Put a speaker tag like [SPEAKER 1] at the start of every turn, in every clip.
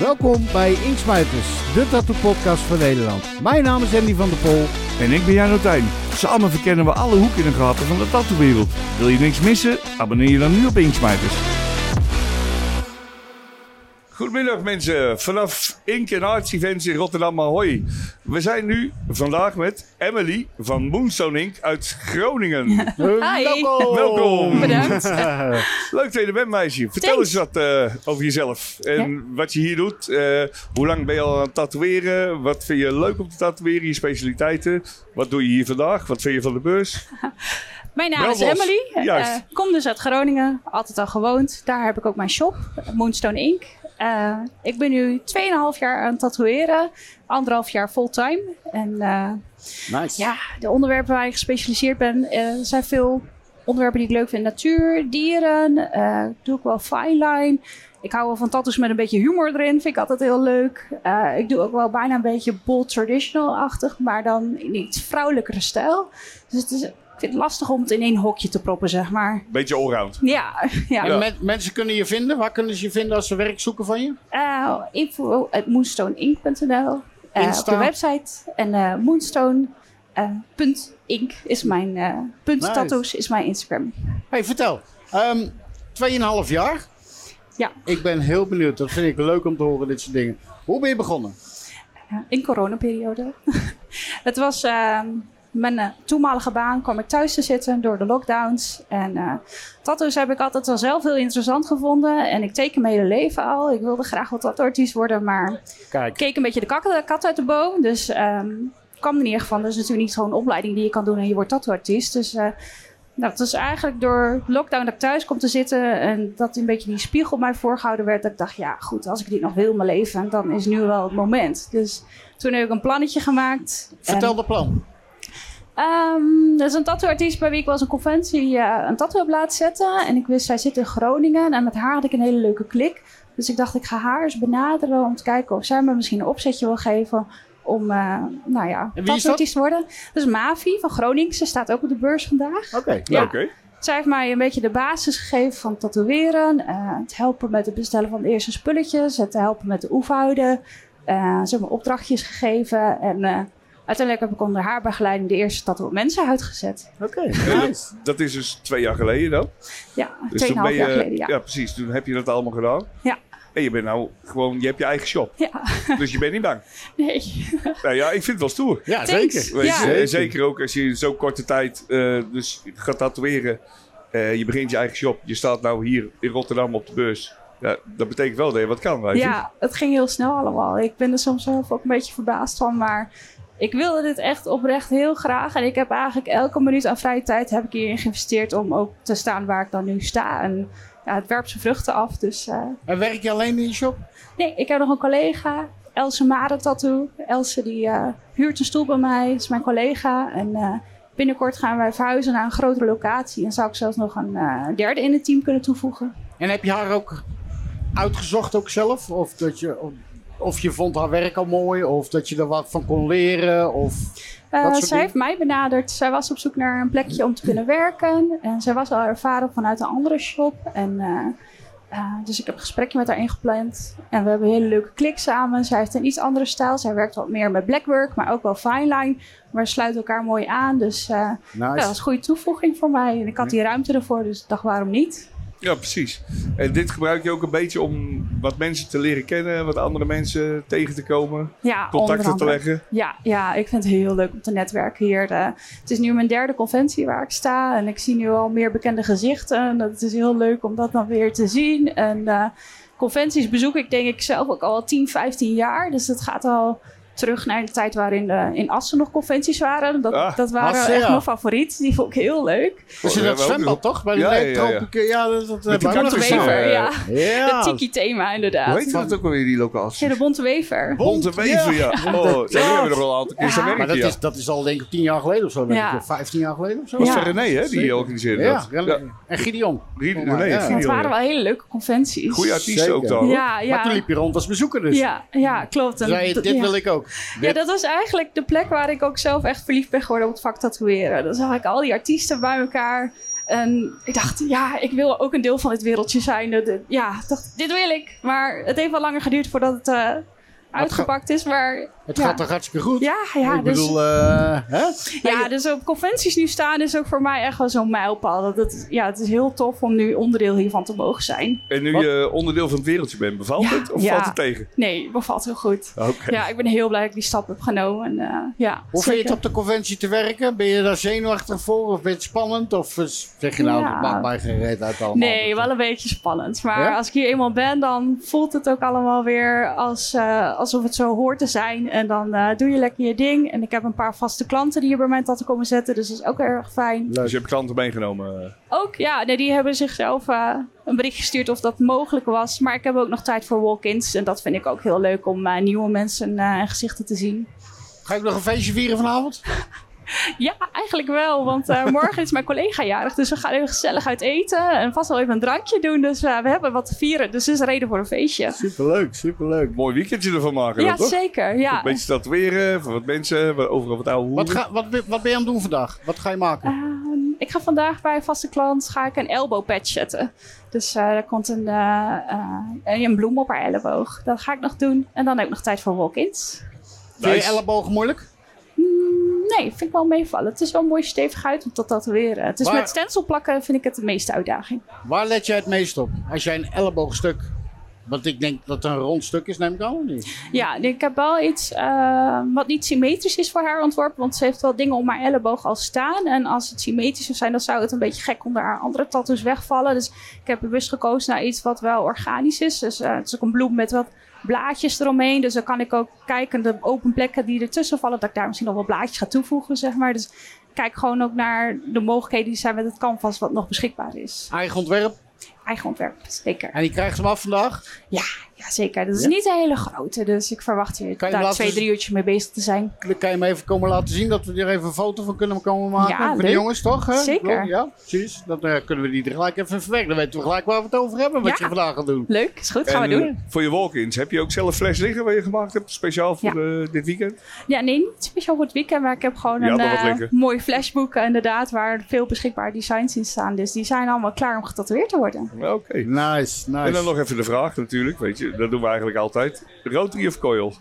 [SPEAKER 1] Welkom bij Inksmuiters, de tattoo podcast van Nederland. Mijn naam is Andy van der Pol.
[SPEAKER 2] En ik ben Jan Otijn. Samen verkennen we alle hoeken en gaten van de tattoowereld. Wil je niks missen? Abonneer je dan nu op Inksmijters. Goedemiddag mensen, vanaf Ink en Arts Events in Rotterdam Ahoy. We zijn nu vandaag met Emily van Moonstone Ink uit Groningen.
[SPEAKER 3] Hi.
[SPEAKER 1] Welkom.
[SPEAKER 2] Welkom.
[SPEAKER 3] Bedankt.
[SPEAKER 2] Leuk dat je er bent meisje. Vertel
[SPEAKER 3] Thanks.
[SPEAKER 2] eens wat eh, over jezelf en wat je hier doet. Eh, hoe lang ben je al aan het tatoeëren? Wat vind je leuk om te tatoeëren? Je specialiteiten? Wat doe je hier vandaag? Wat vind je van de beurs?
[SPEAKER 3] Mijn naam
[SPEAKER 2] Wel
[SPEAKER 3] is
[SPEAKER 2] los.
[SPEAKER 3] Emily. Eh,
[SPEAKER 2] Juist.
[SPEAKER 3] kom dus uit Groningen. Altijd al gewoond. Daar heb ik ook mijn shop, Moonstone Ink. Eh, ik ben nu 2,5 jaar aan het tatoeëren. Anderhalf jaar fulltime. En eh,
[SPEAKER 1] Nice.
[SPEAKER 3] ja, de onderwerpen waar ik gespecialiseerd ben eh, zijn veel onderwerpen die ik leuk vind. Natuur, dieren. eh, doe ik wel fine line. Ik hou wel van tattoos met een beetje humor erin. Vind ik altijd heel leuk. Eh, ik doe ook wel bijna een beetje bold traditional-achtig. Maar dan in iets vrouwelijkere stijl. Dus het is, ik vind het lastig om het in één hokje te proppen, zeg maar.
[SPEAKER 2] Beetje allround.
[SPEAKER 3] Ja, ja.
[SPEAKER 1] En men- mensen kunnen je vinden? Waar kunnen ze je vinden als ze werk zoeken van je?
[SPEAKER 3] Eh, info at moonstoneinc.nl. eh, op
[SPEAKER 1] Insta.
[SPEAKER 3] de website. En eh moonstone.inc is mijn... eh punt
[SPEAKER 1] Nice.
[SPEAKER 3] tattoos is mijn Instagram.
[SPEAKER 1] hey, vertel. Ehm, Tweeënhalf jaar.
[SPEAKER 3] Ja.
[SPEAKER 1] Ik ben heel benieuwd. Dat vind ik leuk om te horen, dit soort dingen. Hoe ben je begonnen?
[SPEAKER 3] Ja, in coronaperiode. het was ehm, mijn eh, toenmalige baan, kwam ik thuis te zitten door de lockdowns. En eh tattoos heb ik altijd al zelf heel interessant gevonden. En ik teken mijn hele leven al. Ik wilde graag wat tattooartiest worden, maar ik
[SPEAKER 1] Kijk.
[SPEAKER 3] keek een beetje de kat, de kat uit de boom. Dus ehm kwam er niet echt van. Dat is natuurlijk niet zo'n opleiding die je kan doen en je wordt tattooartiest. Dus eh nou, het was eigenlijk door lockdown dat ik thuis kom te zitten. En dat een beetje die spiegel mij voorgehouden werd. Dat ik dacht, ja goed, als ik dit nog wil in mijn leven, dan is nu wel het moment. Dus toen heb ik een plannetje gemaakt.
[SPEAKER 1] Vertel
[SPEAKER 3] En,
[SPEAKER 1] de plan.
[SPEAKER 3] ehm, dat is een tattooartiest bij wie ik wel eens een conventie eh, een tattoo heb laten zetten. En ik wist, zij zit in Groningen. En met haar had ik een hele leuke klik. Dus ik dacht, ik ga haar eens benaderen om te kijken of zij me misschien een opzetje wil geven om, eh nou ja,
[SPEAKER 1] is dat?
[SPEAKER 3] tattooartiest te worden. Dat is Mavi van Groningen. Ze staat ook op de beurs vandaag.
[SPEAKER 1] Oké.
[SPEAKER 3] Ja.
[SPEAKER 2] Oké.
[SPEAKER 3] Zij heeft mij een beetje de basis gegeven van tatoeëren. eh, het helpen met het bestellen van de eerste spulletjes. Het helpen met de oefhouden. eh ze heeft me opdrachtjes gegeven. En eh, uiteindelijk heb ik onder haar begeleiding de eerste tattoo op mensenhuid gezet.
[SPEAKER 1] Oké.
[SPEAKER 2] Eh,
[SPEAKER 1] Nice.
[SPEAKER 2] dat, dat is dus twee jaar geleden dan.
[SPEAKER 3] Ja,
[SPEAKER 2] Dus toen
[SPEAKER 3] 2,5
[SPEAKER 2] ben je,
[SPEAKER 3] jaar geleden. Ja. Ja.
[SPEAKER 2] precies. Toen heb je dat allemaal gedaan.
[SPEAKER 3] Ja.
[SPEAKER 2] En je bent nou gewoon, je hebt je eigen shop. Dus je bent niet bang.
[SPEAKER 3] nee.
[SPEAKER 2] Nou ja, ik vind het wel stoer.
[SPEAKER 1] Ja,
[SPEAKER 3] Thanks.
[SPEAKER 1] zeker.
[SPEAKER 2] Weet
[SPEAKER 3] Ja.
[SPEAKER 2] je, en zeker ook als je in zo'n korte tijd eh, dus gaat tatoeëren. Eh, je begint je eigen shop. Je staat nou hier in Rotterdam op de beurs. Ja, dat betekent wel dat je wat kan. Weet je.
[SPEAKER 3] ja, het ging heel snel allemaal. Ik ben er soms zelf ook een beetje verbaasd van, maar... Ik wilde dit echt oprecht heel graag. En ik heb eigenlijk elke minuut aan vrije tijd heb ik hierin geïnvesteerd om ook te staan waar ik dan nu sta. En ja, het werpt zijn vruchten af. Dus eh,
[SPEAKER 1] En werk je alleen in je shop?
[SPEAKER 3] Nee, ik heb nog een collega, Else Mare Tattoo. Else die eh, huurt een stoel bij mij, is mijn collega. En eh, binnenkort gaan wij verhuizen naar een grotere locatie. En zou ik zelfs nog een eh, derde in het team kunnen toevoegen.
[SPEAKER 1] En heb je haar ook uitgezocht ook zelf? Of, dat je, of, of je vond haar werk al mooi? Of dat je er wat van kon leren? Of...
[SPEAKER 3] Eh,
[SPEAKER 1] Wat soort
[SPEAKER 3] zij
[SPEAKER 1] dingen?
[SPEAKER 3] heeft mij benaderd. Zij was op zoek naar een plekje om te kunnen werken. En zij was al ervaren vanuit een andere shop. En, eh, eh, dus ik heb een gesprekje met haar ingepland. En we hebben een hele leuke klik samen. Zij heeft een iets andere stijl. Zij werkt wat meer met blackwork, maar ook wel fine line. Maar we sluiten elkaar mooi aan. Dus eh, Ja, dat was
[SPEAKER 1] Nice.
[SPEAKER 3] een goede toevoeging voor mij. En ik had die ruimte ervoor, dus ik dacht, waarom niet?
[SPEAKER 2] Ja, precies. En dit gebruik je ook een beetje om wat mensen te leren kennen. Wat andere mensen tegen te komen.
[SPEAKER 3] Ja, onder
[SPEAKER 2] Contacten te
[SPEAKER 3] andere.
[SPEAKER 2] leggen.
[SPEAKER 3] Ja, ja, ik vind het heel leuk om te netwerken hier. Eh, het is nu mijn derde conventie waar ik sta. En ik zie nu al meer bekende gezichten. Dat is heel leuk om dat dan weer te zien. En eh, conventies bezoek ik denk ik zelf ook al 10, 15 jaar. Dus dat gaat al terug naar de tijd waarin eh, in Assen nog conventies waren. Dat,
[SPEAKER 2] Ah,
[SPEAKER 3] dat waren
[SPEAKER 1] Assen,
[SPEAKER 3] echt
[SPEAKER 1] ja.
[SPEAKER 3] mijn favoriet. Die vond ik heel leuk.
[SPEAKER 1] Dus in dat
[SPEAKER 2] We hebben ook
[SPEAKER 1] zwembad
[SPEAKER 2] nog-
[SPEAKER 1] toch? Bij de
[SPEAKER 2] Ja, ja, ja, ja.
[SPEAKER 1] leeftropieke... Ja, dat, dat
[SPEAKER 2] Met die
[SPEAKER 1] hebben we ook
[SPEAKER 2] cactus,
[SPEAKER 1] nog
[SPEAKER 3] Wever,
[SPEAKER 2] eh,
[SPEAKER 3] ja.
[SPEAKER 1] gedaan. Ja.
[SPEAKER 3] Dat tiki thema inderdaad.
[SPEAKER 2] Hoe heet dat ook alweer, die locatie?
[SPEAKER 3] Ja, de bonte wever.
[SPEAKER 2] Bonte Wever, ja. Oh, daar hebben we er al een aantal keer
[SPEAKER 3] Ja.
[SPEAKER 2] staan
[SPEAKER 1] Maar
[SPEAKER 2] werken,
[SPEAKER 1] dat
[SPEAKER 2] ja.
[SPEAKER 1] is, dat is al denk ik tien jaar geleden of zo. denk
[SPEAKER 3] Ja.
[SPEAKER 1] ik, of Vijftien jaar geleden of zo.
[SPEAKER 2] Dat was
[SPEAKER 3] Ja.
[SPEAKER 2] van René, hè, die
[SPEAKER 1] Zeker.
[SPEAKER 2] organiseerde
[SPEAKER 1] Ja,
[SPEAKER 2] dat.
[SPEAKER 1] René. En Gideon.
[SPEAKER 2] René,
[SPEAKER 1] Ja.
[SPEAKER 2] René,
[SPEAKER 1] Dat
[SPEAKER 3] Dat
[SPEAKER 2] Gideon,
[SPEAKER 3] waren
[SPEAKER 2] ja.
[SPEAKER 3] wel hele leuke conventies.
[SPEAKER 2] Goeie artiesten
[SPEAKER 1] Zeker.
[SPEAKER 2] ook daar. hoor.
[SPEAKER 3] Ja, ja.
[SPEAKER 1] Maar toen liep je rond als bezoeker dus.
[SPEAKER 3] Ja, ja, klopt. En
[SPEAKER 1] Zei je,
[SPEAKER 3] dat-
[SPEAKER 1] dit
[SPEAKER 3] ja.
[SPEAKER 1] wil ik ook.
[SPEAKER 3] ja, dat was eigenlijk de plek waar ik ook zelf echt verliefd ben geworden op het vak tatoeëren. Dan zag ik al die artiesten bij elkaar. En ik dacht, ja, ik wil ook een deel van dit wereldje zijn. Dat- dat- Ja, ik dacht, dit wil ik. Maar het heeft wel langer geduurd voordat het eh, uitgepakt is. Maar
[SPEAKER 1] Het
[SPEAKER 3] ja.
[SPEAKER 1] gaat toch hartstikke goed?
[SPEAKER 3] Ja, ja,
[SPEAKER 1] ik
[SPEAKER 3] dus-
[SPEAKER 1] bedoel, eh, hè?
[SPEAKER 3] Ja, dus op conventies nu staan is ook voor mij echt wel zo'n mijlpaal. Dat het, ja, het is heel tof om nu onderdeel hiervan te mogen zijn.
[SPEAKER 2] En nu
[SPEAKER 1] Wat?
[SPEAKER 2] je onderdeel van het wereldje bent, bevalt
[SPEAKER 3] Ja,
[SPEAKER 2] het of
[SPEAKER 3] ja.
[SPEAKER 2] valt het tegen?
[SPEAKER 3] Nee, bevalt heel goed.
[SPEAKER 2] Oké.
[SPEAKER 3] Ja, ik ben heel blij dat ik die stap heb genomen. En, eh, ja,
[SPEAKER 1] Hoe vind je het
[SPEAKER 3] zeker.
[SPEAKER 1] op de conventie te werken? Ben je daar zenuwachtig voor of ben je het spannend? Of eh, zeg je nou,
[SPEAKER 3] Ja.
[SPEAKER 1] dat maakt mij geen reet uit allemaal. eh,
[SPEAKER 3] Nee, wel een beetje spannend. Maar
[SPEAKER 1] Ja?
[SPEAKER 3] als ik hier eenmaal ben, dan voelt het ook allemaal weer als, eh, alsof het zo hoort te zijn. En dan eh, doe je lekker je ding. En ik heb een paar vaste klanten die hier bij mijn tante komen zetten. Dus dat is ook erg fijn.
[SPEAKER 2] Dus je hebt klanten meegenomen.
[SPEAKER 3] Ook, ja, nee, die hebben zichzelf eh, een bericht gestuurd of dat mogelijk was. Maar ik heb ook nog tijd voor walk-ins. En dat vind ik ook heel leuk om eh, nieuwe mensen eh, en gezichten te zien.
[SPEAKER 1] Ga ik nog een feestje vieren vanavond?
[SPEAKER 3] Ja, eigenlijk wel. Want eh, morgen is mijn collega jarig. Dus we gaan even gezellig uit eten. En vast wel even een drankje doen. Dus eh, we hebben wat te vieren. Dus er is reden voor een feestje.
[SPEAKER 1] Superleuk, superleuk.
[SPEAKER 2] Mooi weekendje ervan maken,
[SPEAKER 3] Ja,
[SPEAKER 2] dan, toch?
[SPEAKER 3] zeker. Ja.
[SPEAKER 2] Een beetje tatoeëren, voor wat mensen, wat- overal wat oude
[SPEAKER 1] Wat,
[SPEAKER 2] hoeren.
[SPEAKER 1] ga, wat, ben- wat ben je aan het doen vandaag? Wat ga je maken?
[SPEAKER 3] Ehm, ik ga vandaag bij een vaste klant ga ik een elbow patch zetten. Dus eh daar komt een, eh, eh, een bloem op haar elleboog. Dat ga ik nog doen. En dan heb ik nog tijd voor walk-ins.
[SPEAKER 1] Vind je
[SPEAKER 2] Nice.
[SPEAKER 1] elleboog moeilijk?
[SPEAKER 3] Mm, nee, vind ik wel meevallen. Het is wel mooi stevig uit om te tatoeëren. eh, Het is
[SPEAKER 1] Maar-
[SPEAKER 3] met stencil plakken vind ik het de meeste uitdaging.
[SPEAKER 1] Waar let jij het meest op? Als jij een elleboogstuk... Want ik denk dat het een rond stuk is, neem ik aan. of niet?
[SPEAKER 3] Ja, ik heb wel iets eh, wat niet symmetrisch is voor haar ontworpen. Want ze heeft wel dingen om haar elleboog al staan. En als het symmetrisch zou zijn, dan zou het een beetje gek onder haar andere tattoos wegvallen. Dus ik heb bewust gekozen naar iets wat wel organisch is. Dus eh, het is ook een bloem met wat blaadjes eromheen. Dus dan kan ik ook kijken de open plekken die ertussen vallen. Dat ik daar misschien nog wat blaadjes ga toevoegen, zeg maar. Dus ik kijk gewoon ook naar de mogelijkheden die zijn met het canvas wat nog beschikbaar is.
[SPEAKER 1] Eigen ontwerp.
[SPEAKER 3] Eigen ontwerp, zeker.
[SPEAKER 1] En je krijgt hem af vandaag.
[SPEAKER 3] Ja, ja zeker. Dat is
[SPEAKER 1] Ja?
[SPEAKER 3] niet een hele grote, dus ik verwacht hier
[SPEAKER 1] Kan je
[SPEAKER 3] daar
[SPEAKER 1] laten
[SPEAKER 3] twee,
[SPEAKER 1] z-
[SPEAKER 3] drie uurtjes mee bezig te zijn.
[SPEAKER 1] Dan kan je hem even komen laten zien. Dat we er even een foto van kunnen komen maken.
[SPEAKER 3] Ja,
[SPEAKER 1] voor de
[SPEAKER 3] leuk.
[SPEAKER 1] jongens, toch? hè?
[SPEAKER 3] Zeker.
[SPEAKER 1] Ja, precies. Dan eh, kunnen we die er gelijk even verwerken. Dan weten we gelijk waar we het over hebben. Wat
[SPEAKER 3] Ja.
[SPEAKER 1] je vandaag gaat doen.
[SPEAKER 3] Leuk, is goed, gaan
[SPEAKER 2] En,
[SPEAKER 3] we
[SPEAKER 2] eh,
[SPEAKER 3] doen.
[SPEAKER 2] Voor je walk-ins, heb je ook zelf fles liggen waar je gemaakt hebt, speciaal voor eh, dit weekend?
[SPEAKER 3] Ja, nee, niet speciaal voor het weekend, maar ik heb gewoon
[SPEAKER 2] Ja,
[SPEAKER 3] een
[SPEAKER 2] dat wordt
[SPEAKER 3] eh,
[SPEAKER 2] lekker.
[SPEAKER 3] mooi flashboek eh, inderdaad, waar veel beschikbare designs in staan. Dus die zijn allemaal klaar om getatoeëerd te worden.
[SPEAKER 2] Nou, Oké.
[SPEAKER 1] Nice, nice.
[SPEAKER 2] En dan nog even de vraag natuurlijk, weet je, dat doen we eigenlijk altijd. Rotary of coil?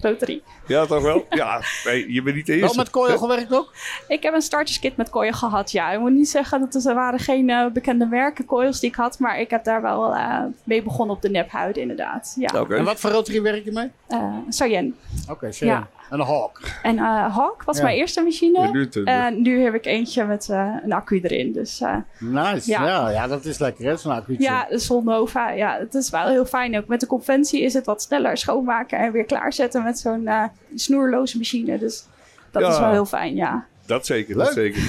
[SPEAKER 3] Rotary.
[SPEAKER 2] Ja, toch wel? Ja, nee, je bent niet de
[SPEAKER 1] Wel
[SPEAKER 2] eerste.
[SPEAKER 1] met coil gewerkt ook?
[SPEAKER 3] Ik heb een starterskit met kooien gehad, ja. Ik moet niet zeggen dat het- er waren geen eh, bekende merken, kooiels die ik had, maar ik heb daar wel eh, mee begonnen op de nephuid, inderdaad. Ja,
[SPEAKER 2] Oké.
[SPEAKER 1] En wat voor rotary werk je mee?
[SPEAKER 3] Eh, Sayen.
[SPEAKER 1] Oké, sorry.
[SPEAKER 3] Ja.
[SPEAKER 1] Een hawk.
[SPEAKER 3] En eh Hawk was
[SPEAKER 1] Ja.
[SPEAKER 3] mijn eerste machine.
[SPEAKER 2] Ja, nu het, eh,
[SPEAKER 3] En nu heb ik eentje met eh, een accu erin. Dus eh,
[SPEAKER 1] Nice. Ja.
[SPEAKER 3] Ja.
[SPEAKER 1] Ja, dat is lekker hè, zo'n accu'tje.
[SPEAKER 3] ja, de Solnova, ja, het is wel heel fijn. Ook met de conventie is het wat sneller schoonmaken en weer klaarzetten met zo'n eh, snoerloze machine. Dus dat
[SPEAKER 2] Ja.
[SPEAKER 3] is wel heel fijn, ja.
[SPEAKER 2] Dat zeker, dat
[SPEAKER 1] Leuk.
[SPEAKER 2] zeker.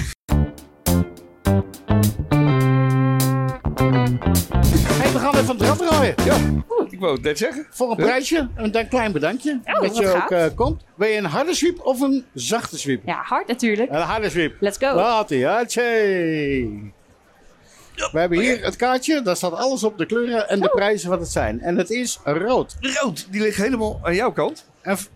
[SPEAKER 1] Hey, we gaan even aan het rad draaien.
[SPEAKER 2] Ja, ik wou het net zeggen.
[SPEAKER 1] Voor een prijsje, een dan- klein bedankje. dat
[SPEAKER 3] wat
[SPEAKER 1] je ook
[SPEAKER 3] gaaf.
[SPEAKER 1] eh, komt. Wil je een harde sweep of een zachte sweep?
[SPEAKER 3] Ja, hard natuurlijk.
[SPEAKER 1] Een harde sweep.
[SPEAKER 3] Let's go.
[SPEAKER 1] Laat ie, hatjee. We hebben hier het kaartje, daar staat alles op, de kleuren en de prijzen wat het zijn. En het is rood.
[SPEAKER 2] Rood, die ligt helemaal aan jouw kant.
[SPEAKER 1] En v-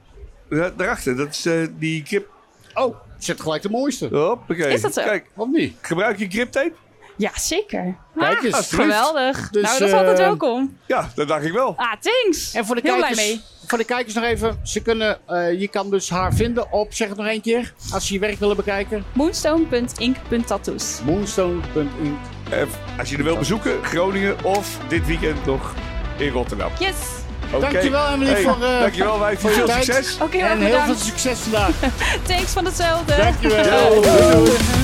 [SPEAKER 2] Da- Daarachter, dat is eh, die grip.
[SPEAKER 1] oh, zit gelijk de mooiste.
[SPEAKER 2] Hoppakee.
[SPEAKER 3] Is dat zo?
[SPEAKER 2] Kijk,
[SPEAKER 1] Of niet?
[SPEAKER 2] gebruik je griptape?
[SPEAKER 3] Ja, zeker.
[SPEAKER 1] Kijk eens, alsjeblieft.
[SPEAKER 3] geweldig.
[SPEAKER 1] Dus,
[SPEAKER 3] nou, dat is
[SPEAKER 1] eh,
[SPEAKER 3] altijd welkom.
[SPEAKER 2] Ja, dat dacht ik wel.
[SPEAKER 3] Ah, thanks.
[SPEAKER 1] En voor de,
[SPEAKER 3] heel
[SPEAKER 1] kijkers,
[SPEAKER 3] blij mee.
[SPEAKER 1] voor de kijkers nog even, ze kunnen, eh, je kan dus haar vinden op, zeg het nog één keer, als ze je werk willen bekijken.
[SPEAKER 3] Moonstone.ink.tattoos.
[SPEAKER 1] Moonstone.in.
[SPEAKER 2] Eh, als je er wil bezoeken, Groningen of dit weekend nog in Rotterdam.
[SPEAKER 3] Yes.
[SPEAKER 2] Oké.
[SPEAKER 1] Dankjewel, Emily, voor, eh,
[SPEAKER 2] dankjewel, wij.
[SPEAKER 1] voor je
[SPEAKER 2] Veel
[SPEAKER 1] tijd.
[SPEAKER 2] succes.
[SPEAKER 3] Oké,
[SPEAKER 1] En heel
[SPEAKER 3] heel
[SPEAKER 1] veel
[SPEAKER 3] bedankt.
[SPEAKER 1] succes vandaag.
[SPEAKER 3] Thanks van hetzelfde.
[SPEAKER 1] Dankjewel. Doei, doei.